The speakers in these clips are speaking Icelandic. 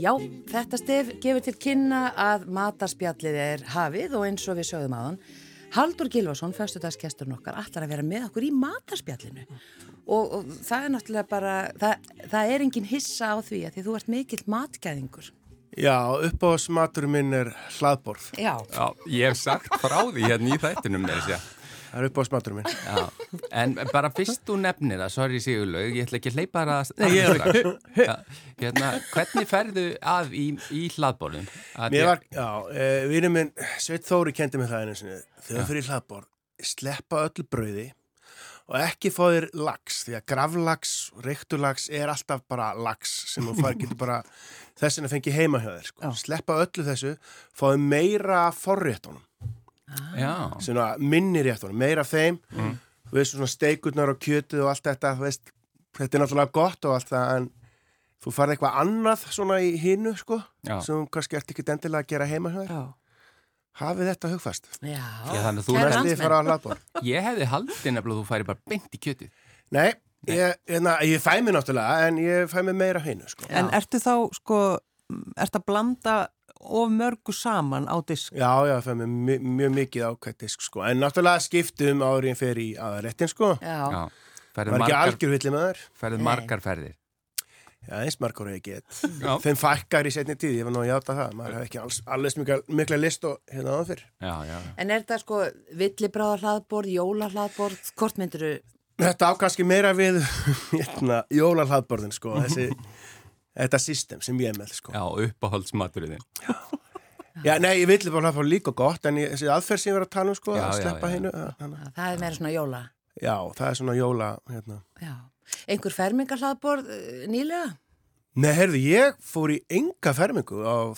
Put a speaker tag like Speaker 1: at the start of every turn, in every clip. Speaker 1: Já, þetta stef gefur til kynna að matarspjallið er hafið og eins og við sögðum aðan. Haldur Gilvason, föstudagsgesturinn okkar, ætlar að vera með okkur í matarspjallinu og, og það er náttúrulega bara, það, það er engin hissa á því að því þú ert mikill matgæðingur.
Speaker 2: Já, uppáhaldsmaturinn minn er hlaðborð.
Speaker 1: Já,
Speaker 3: Já, ég hef sagt frá því hérna í þættinum með þess að
Speaker 2: Það er uppáhaldsmaturinn minn.
Speaker 3: Já, en bara fyrst þú nefnir það, sorry Sigurlaug, ég ætla ekki að hleypa það að staðfesta. Já, hérna, hvernig ferðu að í, í hlaðborðum?
Speaker 2: Mér
Speaker 3: Að ég-
Speaker 2: var, já, e, vinur minn, Sveit Þóri kendi mig það einu sinni. Þau fyrir hlaðborð, sleppa öllu brauði og ekki fá þér lax, því að gravlax, reyktulax er alltaf bara lax sem þú fari getur bara þessin að fengi heima hjá þér. Sko.
Speaker 1: Já.
Speaker 2: Sleppa öllu þessu, fáðu meira af forréttunum,
Speaker 3: Já,
Speaker 2: svona minni réttunum, meira af þeim, þú veist svona steikurnar og kjötið og allt þetta, þú veist, þetta er náttúrulega gott og allt það, en þú farið eitthvað annað svona í hinu, sko,
Speaker 3: Já.
Speaker 2: sem þú kannski ert ekki endilega að gera heima hjá þér
Speaker 1: já,
Speaker 2: hafið þetta hugfast.
Speaker 1: já.
Speaker 3: Já, þannig að þú
Speaker 1: Kæru
Speaker 3: ert-
Speaker 2: Næstu
Speaker 1: landsmenn.
Speaker 2: þið fara að hlaðbor.
Speaker 3: ég hefði haldið nefnilega að þú færi bara beint í kjötið.
Speaker 2: Nei, ég, hérna, ég fæ mér náttúrulega, en ég fæ mér meira hinu, sko.
Speaker 4: En ertu þá, sko, mm, ertu að blanda of mörgu saman á disk?
Speaker 2: Já, já, ég fæ mér mi- mjög mikið ákvættisk, sko. En náttúrulega skiptum áriðin fer í aðarettin, sko.
Speaker 1: Já,
Speaker 3: Já, ferðu
Speaker 2: Var ekki
Speaker 3: margar,
Speaker 2: algjör villi með þær.
Speaker 3: ferðu
Speaker 1: Nei.
Speaker 3: margar ferðir.
Speaker 2: Já, eins margur hef ég gett.
Speaker 3: Já.
Speaker 2: Þeim fækkar í setni tíð, ég var nú að játa það. Maður hef ekki alls, alls mikla, mikla list og hérna áðan fyrr.
Speaker 3: Já, já, já.
Speaker 1: En er þetta sko villibráðar hlaðborð, jólar hlaðborð, hvort myndir
Speaker 2: Þetta á kannski meira við hérna, jólalhaðborðin, sko. Þessi, þetta system sem ég er með, sko.
Speaker 3: Já, uppáhaldsmaturinn. þinn.
Speaker 2: Já, nei, ég villi bara hafa líka gott, en ég, þessi aðferð sem ég var að tala um, sko, að
Speaker 3: Já, já,
Speaker 2: sleppa
Speaker 3: já.
Speaker 2: hinu. að- hana.
Speaker 1: það er meira svona jóla?
Speaker 2: Já, það er svona jóla, hérna.
Speaker 1: Já. Einhver fermingar hlaðborð nýlega?
Speaker 2: Nei, heyrðu, ég fór í enga fermingu á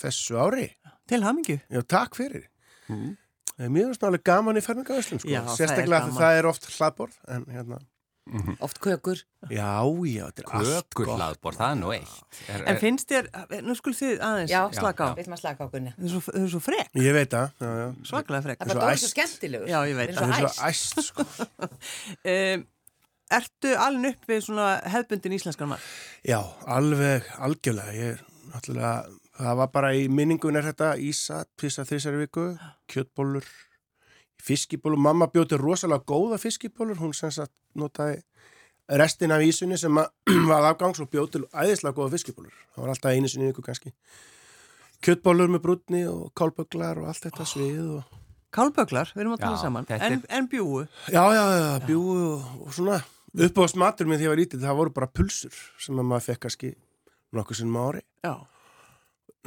Speaker 2: þessu ári.
Speaker 4: Til hamingju?
Speaker 2: Já, takk fyrir. Mm. Mér finnst náttúrulega gaman í fermingaverslum, sko.
Speaker 4: Já, það er
Speaker 2: Sérstaklega það
Speaker 4: gaman.
Speaker 2: það er oft hlaðborð, en hérna.
Speaker 1: Oft kökur?
Speaker 2: Já, já, þetta er allt
Speaker 3: Kökur
Speaker 2: gott.
Speaker 3: hlaðborð, það er nú eitt. Er,
Speaker 4: En finnst þér, eh, nú skul þið aðeins
Speaker 1: Já,
Speaker 4: slaka á.
Speaker 1: Við maður slaka á gunni.
Speaker 4: Þau eru svo, þau eru svo frek,
Speaker 2: Ég veit það, já, já.
Speaker 4: svaklega frek.
Speaker 1: Það er
Speaker 2: svo
Speaker 1: bara dóra svo
Speaker 2: æst.
Speaker 1: skemmtilegur.
Speaker 4: Já, ég veit
Speaker 1: Við
Speaker 2: Það
Speaker 1: erum
Speaker 2: er
Speaker 1: svo
Speaker 2: svo æst, sko.
Speaker 4: Um, ertu alveg upp við svona hefbundin íslenskan mann?
Speaker 2: Já, alveg, algjörlega. Ég er náttúrulega, það var bara í minningun er þetta ísa, pissa þrísari viku, kjötbólur, fiskibólur. Mamma bjóti rosalega góða fiskibólur, hún sem sagt notaði restin af ísunni sem að- var afgangs og bjóti æðislega góða fiskibólur. Það var alltaf einu sinni ykkur kannski. Kjötbólur með brútni og kálbögglar og allt þetta svið og...
Speaker 4: Kálböglar, við erum að tala
Speaker 3: Já,
Speaker 4: saman.
Speaker 3: þetta
Speaker 4: En, en bjúu,
Speaker 2: Já, já, já, bjúi og, og svona. Uppáðast matur minn því ég var lítið, það voru bara pulsur sem að maður fekk kannski nokkuð sinnum á ári.
Speaker 4: já.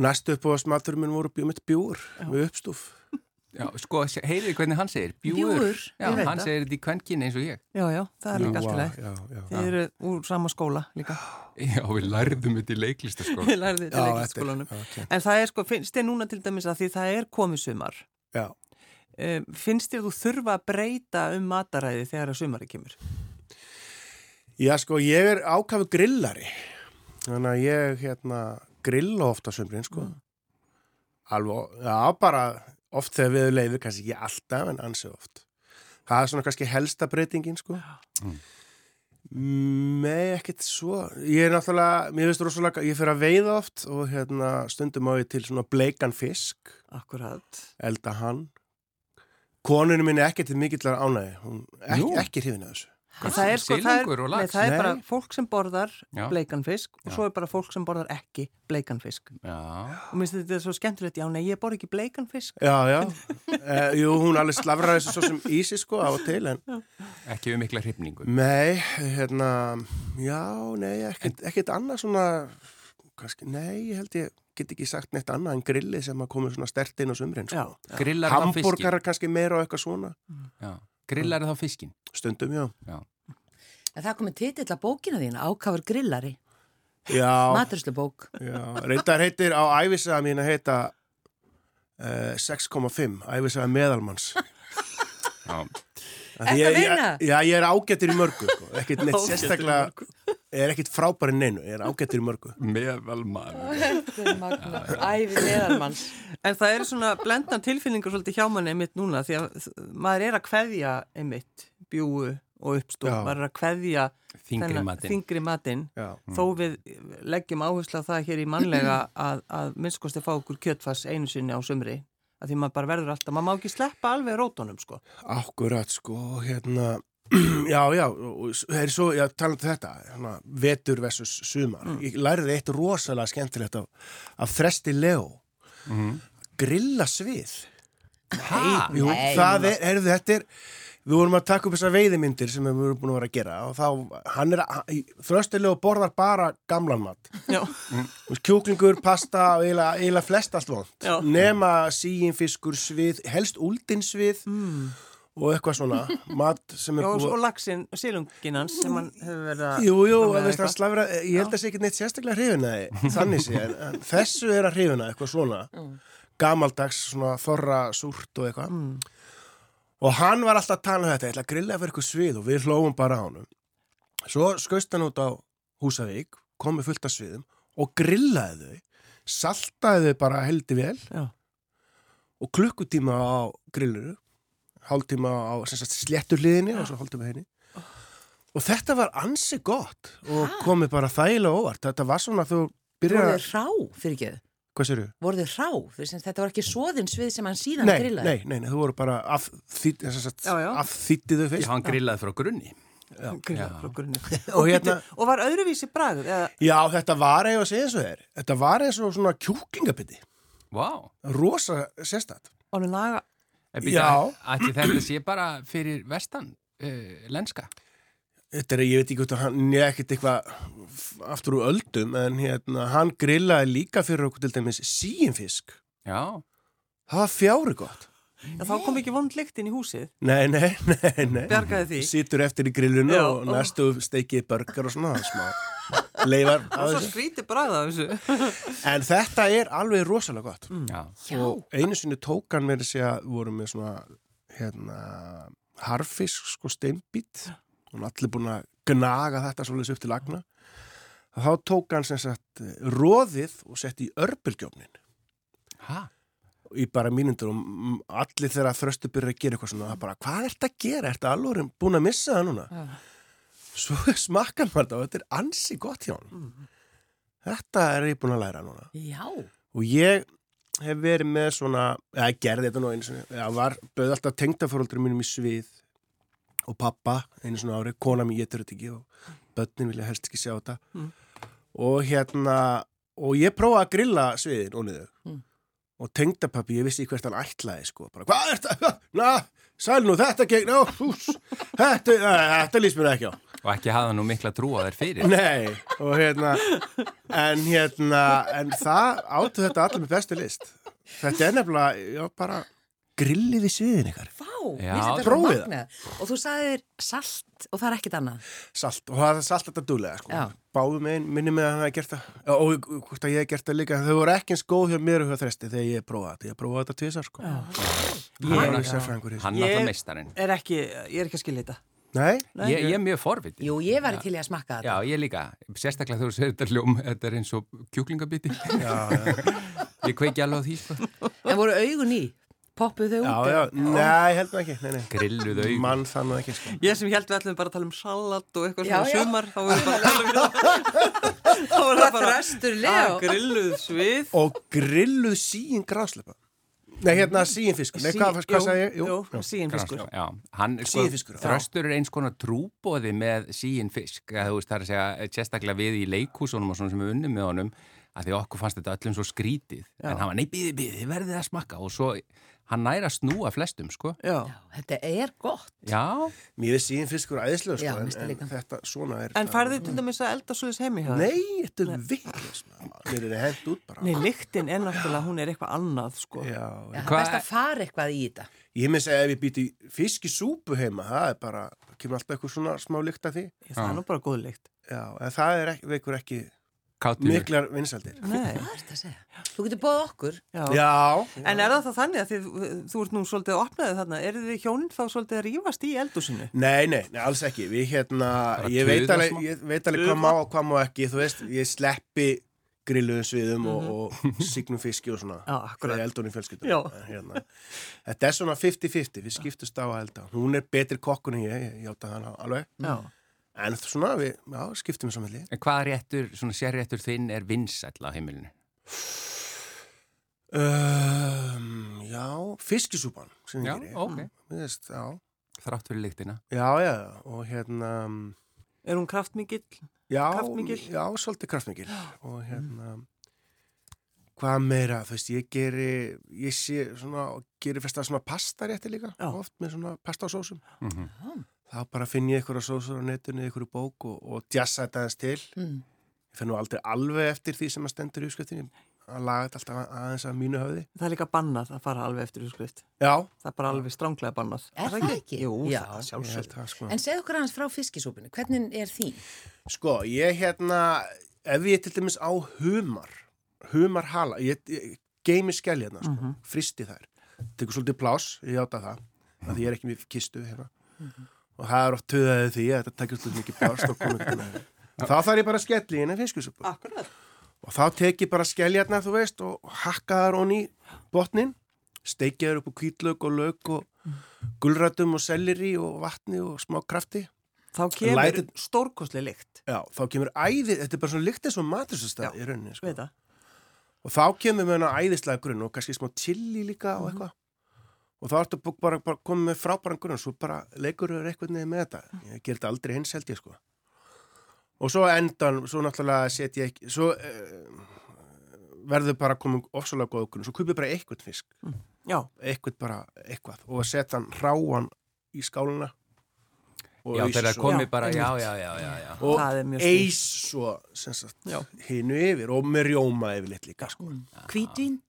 Speaker 2: Næstu upp á smaturinn minn voru bjómiðt bjúur með uppstúf.
Speaker 3: Já, sko, heyrið hvernig hann segir? Bjúur.
Speaker 1: Bjúgur,
Speaker 3: Já,
Speaker 4: ég veit
Speaker 3: hann
Speaker 4: það.
Speaker 3: segir þetta í kvenkin eins og ég.
Speaker 4: Já, já, það er líka allt í lagi.
Speaker 2: Já, já, já.
Speaker 4: Þið eru úr sama skóla líka.
Speaker 3: Já, við lærðum þetta í leiklistaskóla.
Speaker 4: Þið
Speaker 2: Já,
Speaker 4: lærið
Speaker 2: þetta
Speaker 4: þetta
Speaker 2: er-
Speaker 4: líka skólanum.
Speaker 2: já, ok.
Speaker 4: En það er sko, finnst þið núna til dæmis að því það er komið sumar.
Speaker 2: Já.
Speaker 4: Um, finnst þér þú þurfa að breyta um mataræði þegar að sumari kemur?
Speaker 2: já, sko, ég er ákafu grillari. Þannig að ég, hérna, grilla ofta sömbrinn, sko. Alveg, já, bara oft þegar við leiður, kannski ekki alltaf, en ansið oft. Það er svona kannski helsta breytingin, sko. Nei, ekkert svo. Ég er náttúrulega, mér finnst rosalega, ég fyrir að veiða oft og hérna stundum á ég til svona bleikan fisk.
Speaker 4: Akkurat.
Speaker 2: elda hann konunum minni ekki til mikillar ánægi hún ekki,
Speaker 3: Nú?
Speaker 2: ekki hrifin að þessu
Speaker 4: En Það er, sko, það, er,
Speaker 3: Silungur og
Speaker 4: nei,
Speaker 3: lax.
Speaker 4: það er
Speaker 2: Nei.
Speaker 4: bara fólk sem borðar
Speaker 3: Já.
Speaker 4: bleikan fisk og
Speaker 3: Já.
Speaker 4: svo er bara fólk sem borðar ekki bleikan fisk.
Speaker 3: Já,
Speaker 4: Og minnst þetta er svo skemmtilegt, já, nei, ég borð ekki bleikan fisk.
Speaker 2: já, já, uh, jú, hún alveg slafrar þessu svo sem ísi sko á og til en
Speaker 3: ekki við mikla
Speaker 4: Mm.
Speaker 3: hrifningu.
Speaker 2: nei, hérna já, nei, ekkert, ekkert annað svona kannski, nei, ég held ég get ekki sagt neitt annað en grilli sem að komi svona stert inn á sumrin
Speaker 4: Já.
Speaker 2: sko.
Speaker 3: Grillar þá fiskin.
Speaker 2: hambúrgarar kannski meira og eitthvað svona
Speaker 3: Já, grillar þá fiskin.
Speaker 2: stundum, já
Speaker 1: æst. En það komið titill að bókina þína, ákafur grillari,
Speaker 2: já,
Speaker 1: maturslu bók.
Speaker 2: já, reyndar heitir á æfisaða mín að heita eh, uh, 6,5 æfisaða meðalmanns
Speaker 3: Já,
Speaker 2: Af því
Speaker 1: Ertu að
Speaker 2: ég-
Speaker 1: meina?
Speaker 2: ég- Já, ég er ágættur í mörgu, sko. ekkert neitt sérstaklega, ég er ekkert frábæri neinu, ég er ágættur í mörgu.
Speaker 3: Meðal maður.
Speaker 1: Ævi meðalmanns
Speaker 4: En það eru svona blendan tilfinningur svolítið hjá manni einmitt núna því að þ- maður er að kveðja einmitt bjúu og uppstúr,
Speaker 2: Já.
Speaker 4: maður er að kveðja
Speaker 3: Þingri
Speaker 4: þennan-
Speaker 3: matinn. Mm.
Speaker 4: þyngri matinn
Speaker 2: Já,
Speaker 4: þó við leggjum áherslu að það hér í mannlega að, að minnskosti fá okkur kjötfass einu sinni á sumri að því maður bara verður alltaf, maður má ekki sleppa alveg rótunum sko.
Speaker 2: akkurat, sko, og hérna, já, já, og s- það er svo, já, talað um þetta, hérna, vetur versus sumar.
Speaker 4: Mm.
Speaker 2: Ég lærði eitt rosalega skemmtilegt af, af þresti Leo,
Speaker 4: Mhm.
Speaker 2: grilla svið.
Speaker 3: Hæ?
Speaker 2: Jú,
Speaker 1: Nei,
Speaker 2: það er, heyrðu, þetta er við vorum að taka upp þessar veiðimyndir sem við vorum búin að vera að gera og þá, hann er, þröstilega borðar bara gamlan mat, Mm.
Speaker 4: Já,
Speaker 2: Þú veist, kjúklingur, pasta og eiginlega, eiginlega flest allt vond
Speaker 4: Já.
Speaker 2: nema síinfiskur svið helst úldinsvið mm. og eitthvað svona, mat sem er
Speaker 4: og,
Speaker 2: búið
Speaker 4: og laxinn, sílunginans sem hann hefur verið að...
Speaker 2: Jú, jú,
Speaker 4: framleiða
Speaker 2: veist,
Speaker 4: eitthvað.
Speaker 2: hann slæfra, ég held að sé ekki neitt sérstaklega hrifinaði, þannig sé, en, en þessu er að hrifina, eitthvað svona,
Speaker 4: Mm.
Speaker 2: gamaldags, svona þorra, súrt og eitthvað.
Speaker 4: Mm.
Speaker 2: Og hann var alltaf að tala um þetta, ég ætla að grilla fyrir eitthvað svið og við hlófum bara á honum. Svo skaust hann út á Húsavík, kom með fullt af sviðum og grillaði þau, saltaði þau bara heldi vel
Speaker 4: Já.
Speaker 2: og klukkutíma á grillinu hálftíma á sem sagt, sléttur hliðinni og svo hálftíma henni og þetta var ansi gott og komið bara þægilega óvart þetta var svona þú
Speaker 1: Voru
Speaker 2: byrjar
Speaker 1: þið rá, fyrir ekki
Speaker 2: hvað sérðu?
Speaker 1: Voru þið rá, fyrir sem þetta var ekki svoðin svið sem hann síðan
Speaker 2: Nei, nei,
Speaker 1: grillaði
Speaker 2: nei, nei, þú voru bara af, þýtt, sagt,
Speaker 4: Já, já.
Speaker 2: af þýttiðu
Speaker 3: Já,
Speaker 2: fyrst
Speaker 3: hann grillaði frá grunni.
Speaker 4: Grilla
Speaker 3: Já.
Speaker 4: frá grunni.
Speaker 2: Og hérna-
Speaker 4: Og var öðruvísi bragð eða
Speaker 2: já, þetta var eða að segja eins og þér þetta var eins og svona kjúklingabiti
Speaker 3: Vá.
Speaker 2: rosa sérstætt
Speaker 4: alveg naga
Speaker 3: En býta,
Speaker 2: Já.
Speaker 3: Ætli þetta sé bara fyrir vestan uh, lenska.
Speaker 2: Þetta er, ég veit ekki hvort að hann er ekkert eitthvað f- aftur úr öldum, en hérna, hann grillaði líka fyrir okkur til dæmis síinfisk.
Speaker 3: Já.
Speaker 2: Það var fjári gott.
Speaker 4: þá kom ekki vond lykt inn í húsið
Speaker 2: Nei, nei, nei, nei.
Speaker 4: Bjargaði því.
Speaker 2: Sittur eftir í grillinu
Speaker 4: Já,
Speaker 2: og
Speaker 4: ó.
Speaker 2: næstu steikið börgar og svona það er smá. Leifar. á
Speaker 4: og svo
Speaker 2: þessu.
Speaker 4: skríti bragð af þessu
Speaker 2: En þetta er alveg rosalega gott.
Speaker 4: Mm.
Speaker 3: Já.
Speaker 1: Já,
Speaker 2: Einu sinni tók hann verið sig að voru með svona, hérna, harfisk, sko, steinbít. Hún er allir búin að gnaga þetta svolítið upp til agna. Þá tók hann sem sagt róðið og setti í örbulgjófnin.
Speaker 3: Hæ?
Speaker 2: í bara mínundur og m- allir þegar þröstu byrja að gera eitthvað svona, það bara, hvað ertu að gera? Ertu alvorum búin að missa það núna? Svo smakkar maður þetta og þetta er ansi gott hjá hann. Þetta er ég búin að læra núna.
Speaker 1: já
Speaker 2: Og ég hef verið með svona, eða gerði þetta nú einu svona, eða var, bauð alltaf tengdafóröldur mínum í svið og pappa einu svona ári, kona mín getur þetta ekki og börnin vilja helst ekki sjá þetta.
Speaker 4: Mm.
Speaker 2: Og hérna, og ég prófaði að grilla sviðin og niður.
Speaker 1: Mm.
Speaker 2: Og tengdapappi, ég vissi ekki hvert hann ætlaði, sko. Bara, hvað er þetta? Na, sæl nú, þetta gegn, á, hús, þetta, na, þetta líst mér ekki á.
Speaker 3: Og ekki hafða nú mikla trú á þær fyrir.
Speaker 2: Nei, og hérna en hérna, en það áttu þetta allir með bestu list þetta er nefnilega, já, bara grillið í sviðin ykkar,
Speaker 1: Vá, mér
Speaker 3: Já,
Speaker 1: finnst þetta
Speaker 2: prófið það.
Speaker 1: magnað. Og þú sagðir salt og það er ekkit annað
Speaker 2: salt og það er salt þetta duglega, sko,
Speaker 1: Já.
Speaker 2: báðum einn minni með að hann hafi gert það, Já, og hvort að ég hef gert það líka, þau voru ekki eins góð hjá mér og hjá þresti þegar ég prófaði þetta, ég prófaði þetta tvisar, sko
Speaker 3: Hann
Speaker 2: Hann
Speaker 3: er-
Speaker 2: er sérfræðingur í þessu.
Speaker 3: Hann er
Speaker 4: Ég-
Speaker 3: alltaf meistarinn.
Speaker 4: er ekki, ég er ekki að skilja þetta
Speaker 2: Nei,
Speaker 4: Nei,
Speaker 3: Ég, ég er mjög forvitið.
Speaker 1: Jú, ég var til í að smakka þetta
Speaker 3: Já, ég líka. Sérstaklega þú segir þetta ljóm, þetta er eins og kjúklingabiti.
Speaker 2: já, já,
Speaker 3: Ég kveiki alveg á því, sko.
Speaker 1: En voru augun í, poppuð þau
Speaker 2: já,
Speaker 1: út
Speaker 2: já, nei, heldur ekki, nei, nei
Speaker 3: Grilluð augun.
Speaker 2: mann þannig ekki, sko
Speaker 4: ég sem held við ætlum bara að tala um salat og eitthvað
Speaker 1: Já,
Speaker 4: svona
Speaker 1: já.
Speaker 4: sumar þá erum við bara að tala um þá erum við bara
Speaker 1: Þröstur
Speaker 4: að "Ah,
Speaker 1: Leó.
Speaker 4: grilluð svið
Speaker 2: og grilluð síin gráslepa nei, hérna síin fiskur, nei, hvað, hvað sagði ég?
Speaker 4: jú,
Speaker 2: já.
Speaker 4: síðan fiskur
Speaker 3: Já, hann, sko,
Speaker 2: Sígifiskur, já.
Speaker 3: Þröstur er eins konar trúbóði með síin fisk eða þú veist, það er að segja, sérstaklega við í leikhúsunum og svona sem við unnum með honum að því okkur fannst þetta öllum svo skrítið en hann var, nei, býði, býði, þið verðið að smakka og svo, hann næra að snúa flestum, sko
Speaker 4: já
Speaker 1: Já, Þetta er gott
Speaker 3: Já,
Speaker 2: Mér er síðan fiskur æðislega
Speaker 1: Já,
Speaker 2: sko,
Speaker 1: mér
Speaker 2: en,
Speaker 1: finnst það líka.
Speaker 2: en þetta svona er
Speaker 4: en færðu til dæmis að elda svoleiðis heimi hjá þér?
Speaker 2: Nei, þetta er vittlis Mér er það hent út bara
Speaker 4: Nei, lyktin er náttúrulega, hún er eitthvað annað sko.
Speaker 2: Já,
Speaker 1: Já, Það er
Speaker 3: Hvað-
Speaker 1: best að fara eitthvað í þetta
Speaker 2: Ég með segja ef ég býti fisk í súpu heima það er bara, kemur alltaf eitthvað svona smá lykt af því
Speaker 4: Það er nú bara góð lykt
Speaker 2: Já, en það er ekki, veikur ekki
Speaker 3: kátur
Speaker 2: miklar vinsaldir.
Speaker 4: Nei.
Speaker 1: Hvað er þetta að segja? Þú getur bóð okkur.
Speaker 4: Já.
Speaker 2: Já,
Speaker 4: En er það þá þannig að þið, þú ert nú svolítið opnaðið þarna, eru þið hjónin þá svolítið að rífast í eldúsinu?
Speaker 2: Nei, nei, nei, alls ekki. Við hérna,
Speaker 3: Bara
Speaker 2: ég veit,
Speaker 3: tuða
Speaker 2: alveg,
Speaker 3: smá.
Speaker 2: ég veit alveg hvað má og hvað má ekki. Þú veist, ég sleppi grilluðum sviðum og, og signum fiski og svona.
Speaker 4: Mhm. Já, akkurat.
Speaker 2: Það er eldunum fjölskyldum.
Speaker 4: Já.
Speaker 2: En Hérna. Þetta er svona 50-50, við skiptust á að elda. Hún er betri kokkun en ég, ég hjáta hana alveg.
Speaker 4: Já.
Speaker 2: En svona, við, já, skiptum við samanlega.
Speaker 3: En hvað réttur, svona sérréttur þinn er vinsæll á heimilinu?
Speaker 2: Um, já, fiskisúpan, sem ég
Speaker 3: Já,
Speaker 2: gerir.
Speaker 3: ok,
Speaker 2: Þú veist, já.
Speaker 3: þrátt fyrir lyktina
Speaker 2: Já, já, og hérna,
Speaker 4: Er hún kraftmikill?
Speaker 2: já,
Speaker 4: Kraftmikil? Mm.
Speaker 2: já, svolítið kraftmikil og hérna hvað meira, þú veist, ég geri ég sé svona, og geri fyrst að svona pasta rétti líka,
Speaker 4: Já.
Speaker 2: oft með svona pasta og sósum,
Speaker 3: mm -hmm.
Speaker 2: þá bara finn ég einhverja sósur á netinu, einhverju bók og, og jassa þetta aðeins til,
Speaker 1: Mm.
Speaker 2: ég finn nú aldrei alveg eftir því sem að stendur í uppskriftinni að laga þetta alltaf að- aðeins að mínu höfði
Speaker 4: Það er líka bannað að fara alveg eftir úrskrift.
Speaker 2: Já,
Speaker 4: Það er bara alveg stránglega bannað.
Speaker 1: Er það ekki?
Speaker 4: Jú,
Speaker 1: Já.
Speaker 4: það er
Speaker 2: ég held
Speaker 4: sjálfsögð.
Speaker 2: það sko
Speaker 1: En segð okkur aðeins frá fiskisúpinu. Hvernig er þín?
Speaker 2: Sko, ég hérna, ef ég til dæmis á humar, humarhala, ég, ég geimi skell hérna, sko, fristi þær. Tekur svolítið plás, ég játa það, af því ég er ekki mjög kistu hérna. Og það er oft töðaðið því að þetta tekur svolítið mikið plás og komið hérna. Þá þarf ég bara að skelli inn en fiskusuppu.
Speaker 4: Akkurat.
Speaker 2: Og þá tek ég bara skelljarnar, þú veist, og hakka þar onni botnin, steikja þær upp á kvítlög og lög og gulrætum og selleri og vatni og smá krafti.
Speaker 4: Þá kemur
Speaker 2: Lætur-
Speaker 4: stórkostlega lykt. sko.
Speaker 2: Já, þá kemur æði, þetta er bara svona lykt eins og maturstastað
Speaker 4: Já,
Speaker 2: í rauninni, sko.
Speaker 4: Veit það?
Speaker 2: Og þá kemur með hana æðislega grunn og kannski smá chili líka og eitthvað. Og þá ertu bú- bara, bara komið með frábæran grunn og svo bara leikur þau eitthvað niður með þetta. Ég ger þetta aldrei hins held ég, sko. Og svo á endan, svo náttúrulega set ég ekki, svo uh, verður bara komið ofsalega góð grunn. Svo kaupið bara eitthvað fisk,
Speaker 4: Já.
Speaker 2: eitthvað bara eitthvað og setja hann ráan í skáluna. og
Speaker 3: Já,
Speaker 2: ausa
Speaker 3: þegar það
Speaker 2: svo-
Speaker 3: komi
Speaker 4: Já,
Speaker 3: bara, já,
Speaker 4: einmitt.
Speaker 3: já, já, já, já.
Speaker 2: og
Speaker 4: Það er mjög sniðugt.
Speaker 2: eis svo sem sagt,
Speaker 4: Já. Mm.
Speaker 2: hinu yfir og með rjóma yfirleitt líka sko.
Speaker 1: Hvítvin?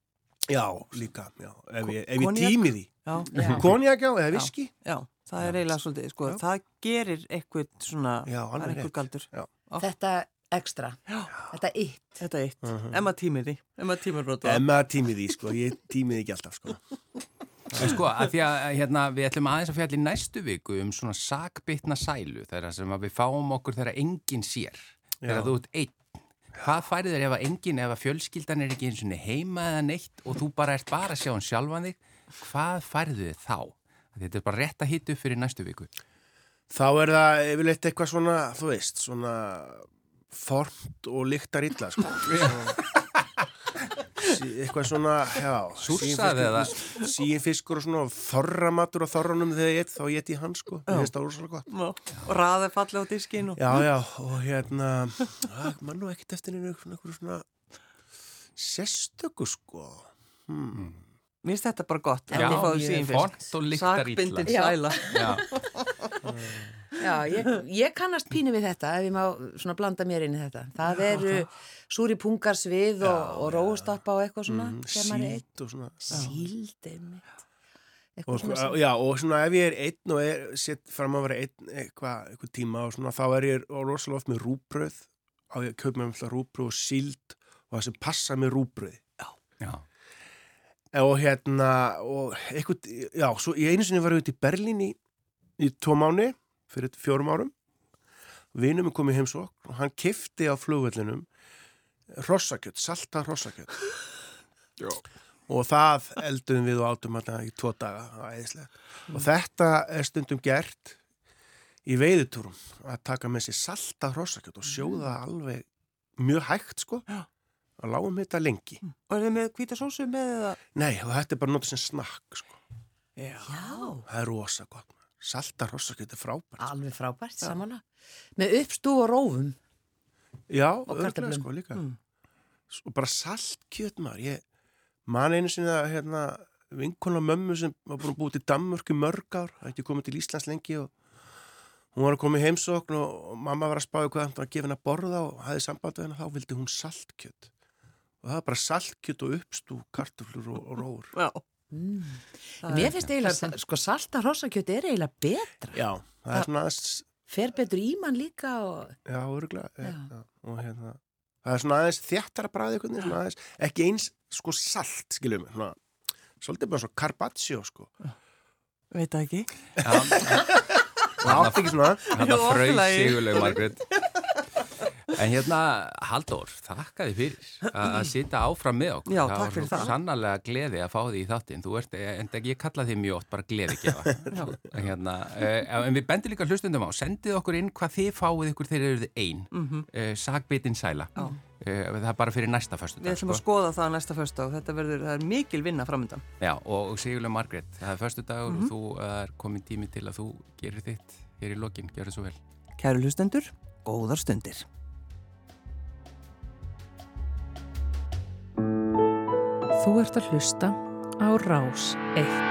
Speaker 2: já, líka, já, ef ég, ef ég
Speaker 4: Koníak?
Speaker 2: tími því
Speaker 4: Já.
Speaker 1: Já.
Speaker 2: konjak já, eða viski
Speaker 4: Já, það er eiginlega svolítið, sko,
Speaker 2: Já.
Speaker 4: það gerir eitthvað svona,
Speaker 2: Já,
Speaker 4: það
Speaker 2: alveg
Speaker 4: er eitthvað
Speaker 2: rétt.
Speaker 4: galdur.
Speaker 2: Já.
Speaker 1: Þetta ekstra.
Speaker 4: Já.
Speaker 1: Þetta ytt.
Speaker 4: Þetta er eitt, uh -huh. emma tímir því, emma tímir brota.
Speaker 2: ef maður tími því, sko, ég tími því ekki alltaf sko.
Speaker 3: En sko, að því að hérna, við ætlum aðeins að fjalla í næstu viku um svona sakbytna sælu þegar sem að við fáum okkur þegar enginn sér þegar
Speaker 2: Já.
Speaker 3: þú ert einn Hvað færið þér ef að enginn, ef að fjölskyldan er ekki eins og heima eða neitt og þú bara ert bara að sjá hann sjálfan þig hvað færið þið þá? Þetta er bara rétt að hitta upp fyrir næstu viku
Speaker 2: þá er það yfirleitt eitthvað svona þú veist, svona formt og lyktar illa sko. Sí- eitthvað svona já,
Speaker 3: Súrsaði
Speaker 2: síin
Speaker 3: eða?
Speaker 2: fiskur- síin fiskur og svona og þorramatur og þorranum þegar ég get, þá get ég hann sko, ég veist það úr svolítið gott
Speaker 4: Og raði falli á diskinu.
Speaker 2: Já, já, og hérna, að, mann og ekkert eftir einu einhverju svona sérstöku, sko. Hmm.
Speaker 4: Mér finnst þetta bara gott,
Speaker 3: Já,
Speaker 4: ef ég fáið
Speaker 1: ég-
Speaker 4: síðan
Speaker 3: Font
Speaker 4: fyrst.
Speaker 3: og lyktar
Speaker 4: Sakbindin
Speaker 3: illa
Speaker 1: Já.
Speaker 4: sæla.
Speaker 3: Já,
Speaker 1: Já, ég, ég kannast pínu við þetta ef ég má svona blanda mér inn í þetta. Það eru súri pungar svið og,
Speaker 2: Já,
Speaker 1: og róstappa og eitthvað svona.
Speaker 2: Mm,
Speaker 1: þegar maður er einn.
Speaker 2: Síld og svona.
Speaker 1: Síld, einmitt.
Speaker 2: Og,
Speaker 1: Eitthvað
Speaker 2: sko,
Speaker 1: svona. sem-
Speaker 2: já, og svona ef ég er einn og er, set fram að vera einn eitthvað eitthva tíma og svona, þá er ég og rosalega oft með rúbröð, á ég að kaupa mér um alltaf rúbröð og síld og það sem passa með rúbröði.
Speaker 3: já,
Speaker 2: og hérna og eitthvað, já, svo ég einu sinni var auðvitað í Berlín í, í tvo mánu fyrir fjórum árum vinum er komið heimsók og hann kifti á flugvellinum hrossakjött, salta hrossakjött og það eldum við og átum hérna í tvo daga það var æðislegt. og þetta er stundum gert í veiðutúrum að taka með sér salta hrossakjött og sjóða það alveg mjög hægt sko
Speaker 4: Já.
Speaker 2: að lágum þetta lengi
Speaker 4: Og er þið með hvíta sósu með eða?
Speaker 2: nei og þetta er bara notið sem snakk sko
Speaker 4: Já.
Speaker 1: Já,
Speaker 2: Það er rosa gott. maður. Salta rossakjöt er frábært.
Speaker 1: alveg frábært, samanlega. Með uppstú og rófum.
Speaker 2: Já,
Speaker 1: Og
Speaker 2: örugglega
Speaker 1: kartöflum.
Speaker 2: sko líka.
Speaker 4: Mm.
Speaker 2: Og bara saltkjöt maður. Ég man einu sinni að hérna, vinkona mömmu sem var búin að búið til Danmörku í mörg ár, það ekki komið til Íslands lengi og hún var að koma í heimsókn og og mamma var að spáði hvað hann var að gefa henni að borða og hafði samband við henni þá vildi hún saltkjöt. Og það var bara saltkjöt og uppstú, kartuflur og, og róur.
Speaker 4: Já.
Speaker 1: Mm.
Speaker 4: Það
Speaker 1: Mér
Speaker 4: er-
Speaker 1: finnst eiginlega, sko, salta hrossakjöti er eiginlega betra.
Speaker 2: Já, það er svona aðeins,
Speaker 1: Fer betur í mann líka og...
Speaker 2: já, örgulega.
Speaker 1: Já.
Speaker 2: Já. Og hérna, það er svona aðeins þjættara bræði einhvern veginn, svona aðeins, ekki eins sko salt, skiljum við, svona svolítið bara svona carpaccio, sko
Speaker 4: veit það ekki
Speaker 2: það átti ekki svona,
Speaker 3: Hanna
Speaker 4: Jú,
Speaker 3: fröys
Speaker 4: oflagi.
Speaker 3: sigurleg Margrét En hérna, Halldór, þakka þið fyrir að að sitja áfram með okkur.
Speaker 4: Já,
Speaker 3: það
Speaker 4: takk fyrir það.
Speaker 3: sannarlega gleði að fá því í þáttinn. Þú ert, eh, en ég kalla þið mjög oft bara gleði gefa. hérna, eh, en við bendum líka hlustundum á, sendið okkur inn hvað þið fáið ykkur þegar eruð ein. Mm
Speaker 4: Mhm.
Speaker 3: -hmm. Sagbitin sæla. Eh, það er bara fyrir næsta föstudag. sko.
Speaker 4: Við ætlum að skoða það á næsta föstudag. Þetta verður, það er mikil vinna framöndan.
Speaker 3: Já, og, og Sigurlega Margrét, það er föstudagur
Speaker 4: Mhm.
Speaker 3: og þú eh, er komin tími til að þú gerir þitt hér í lokin, gjör svo vel.
Speaker 4: Kæru hlustendur, góðar stundir.
Speaker 5: Þú ert að hlusta á Rás 1.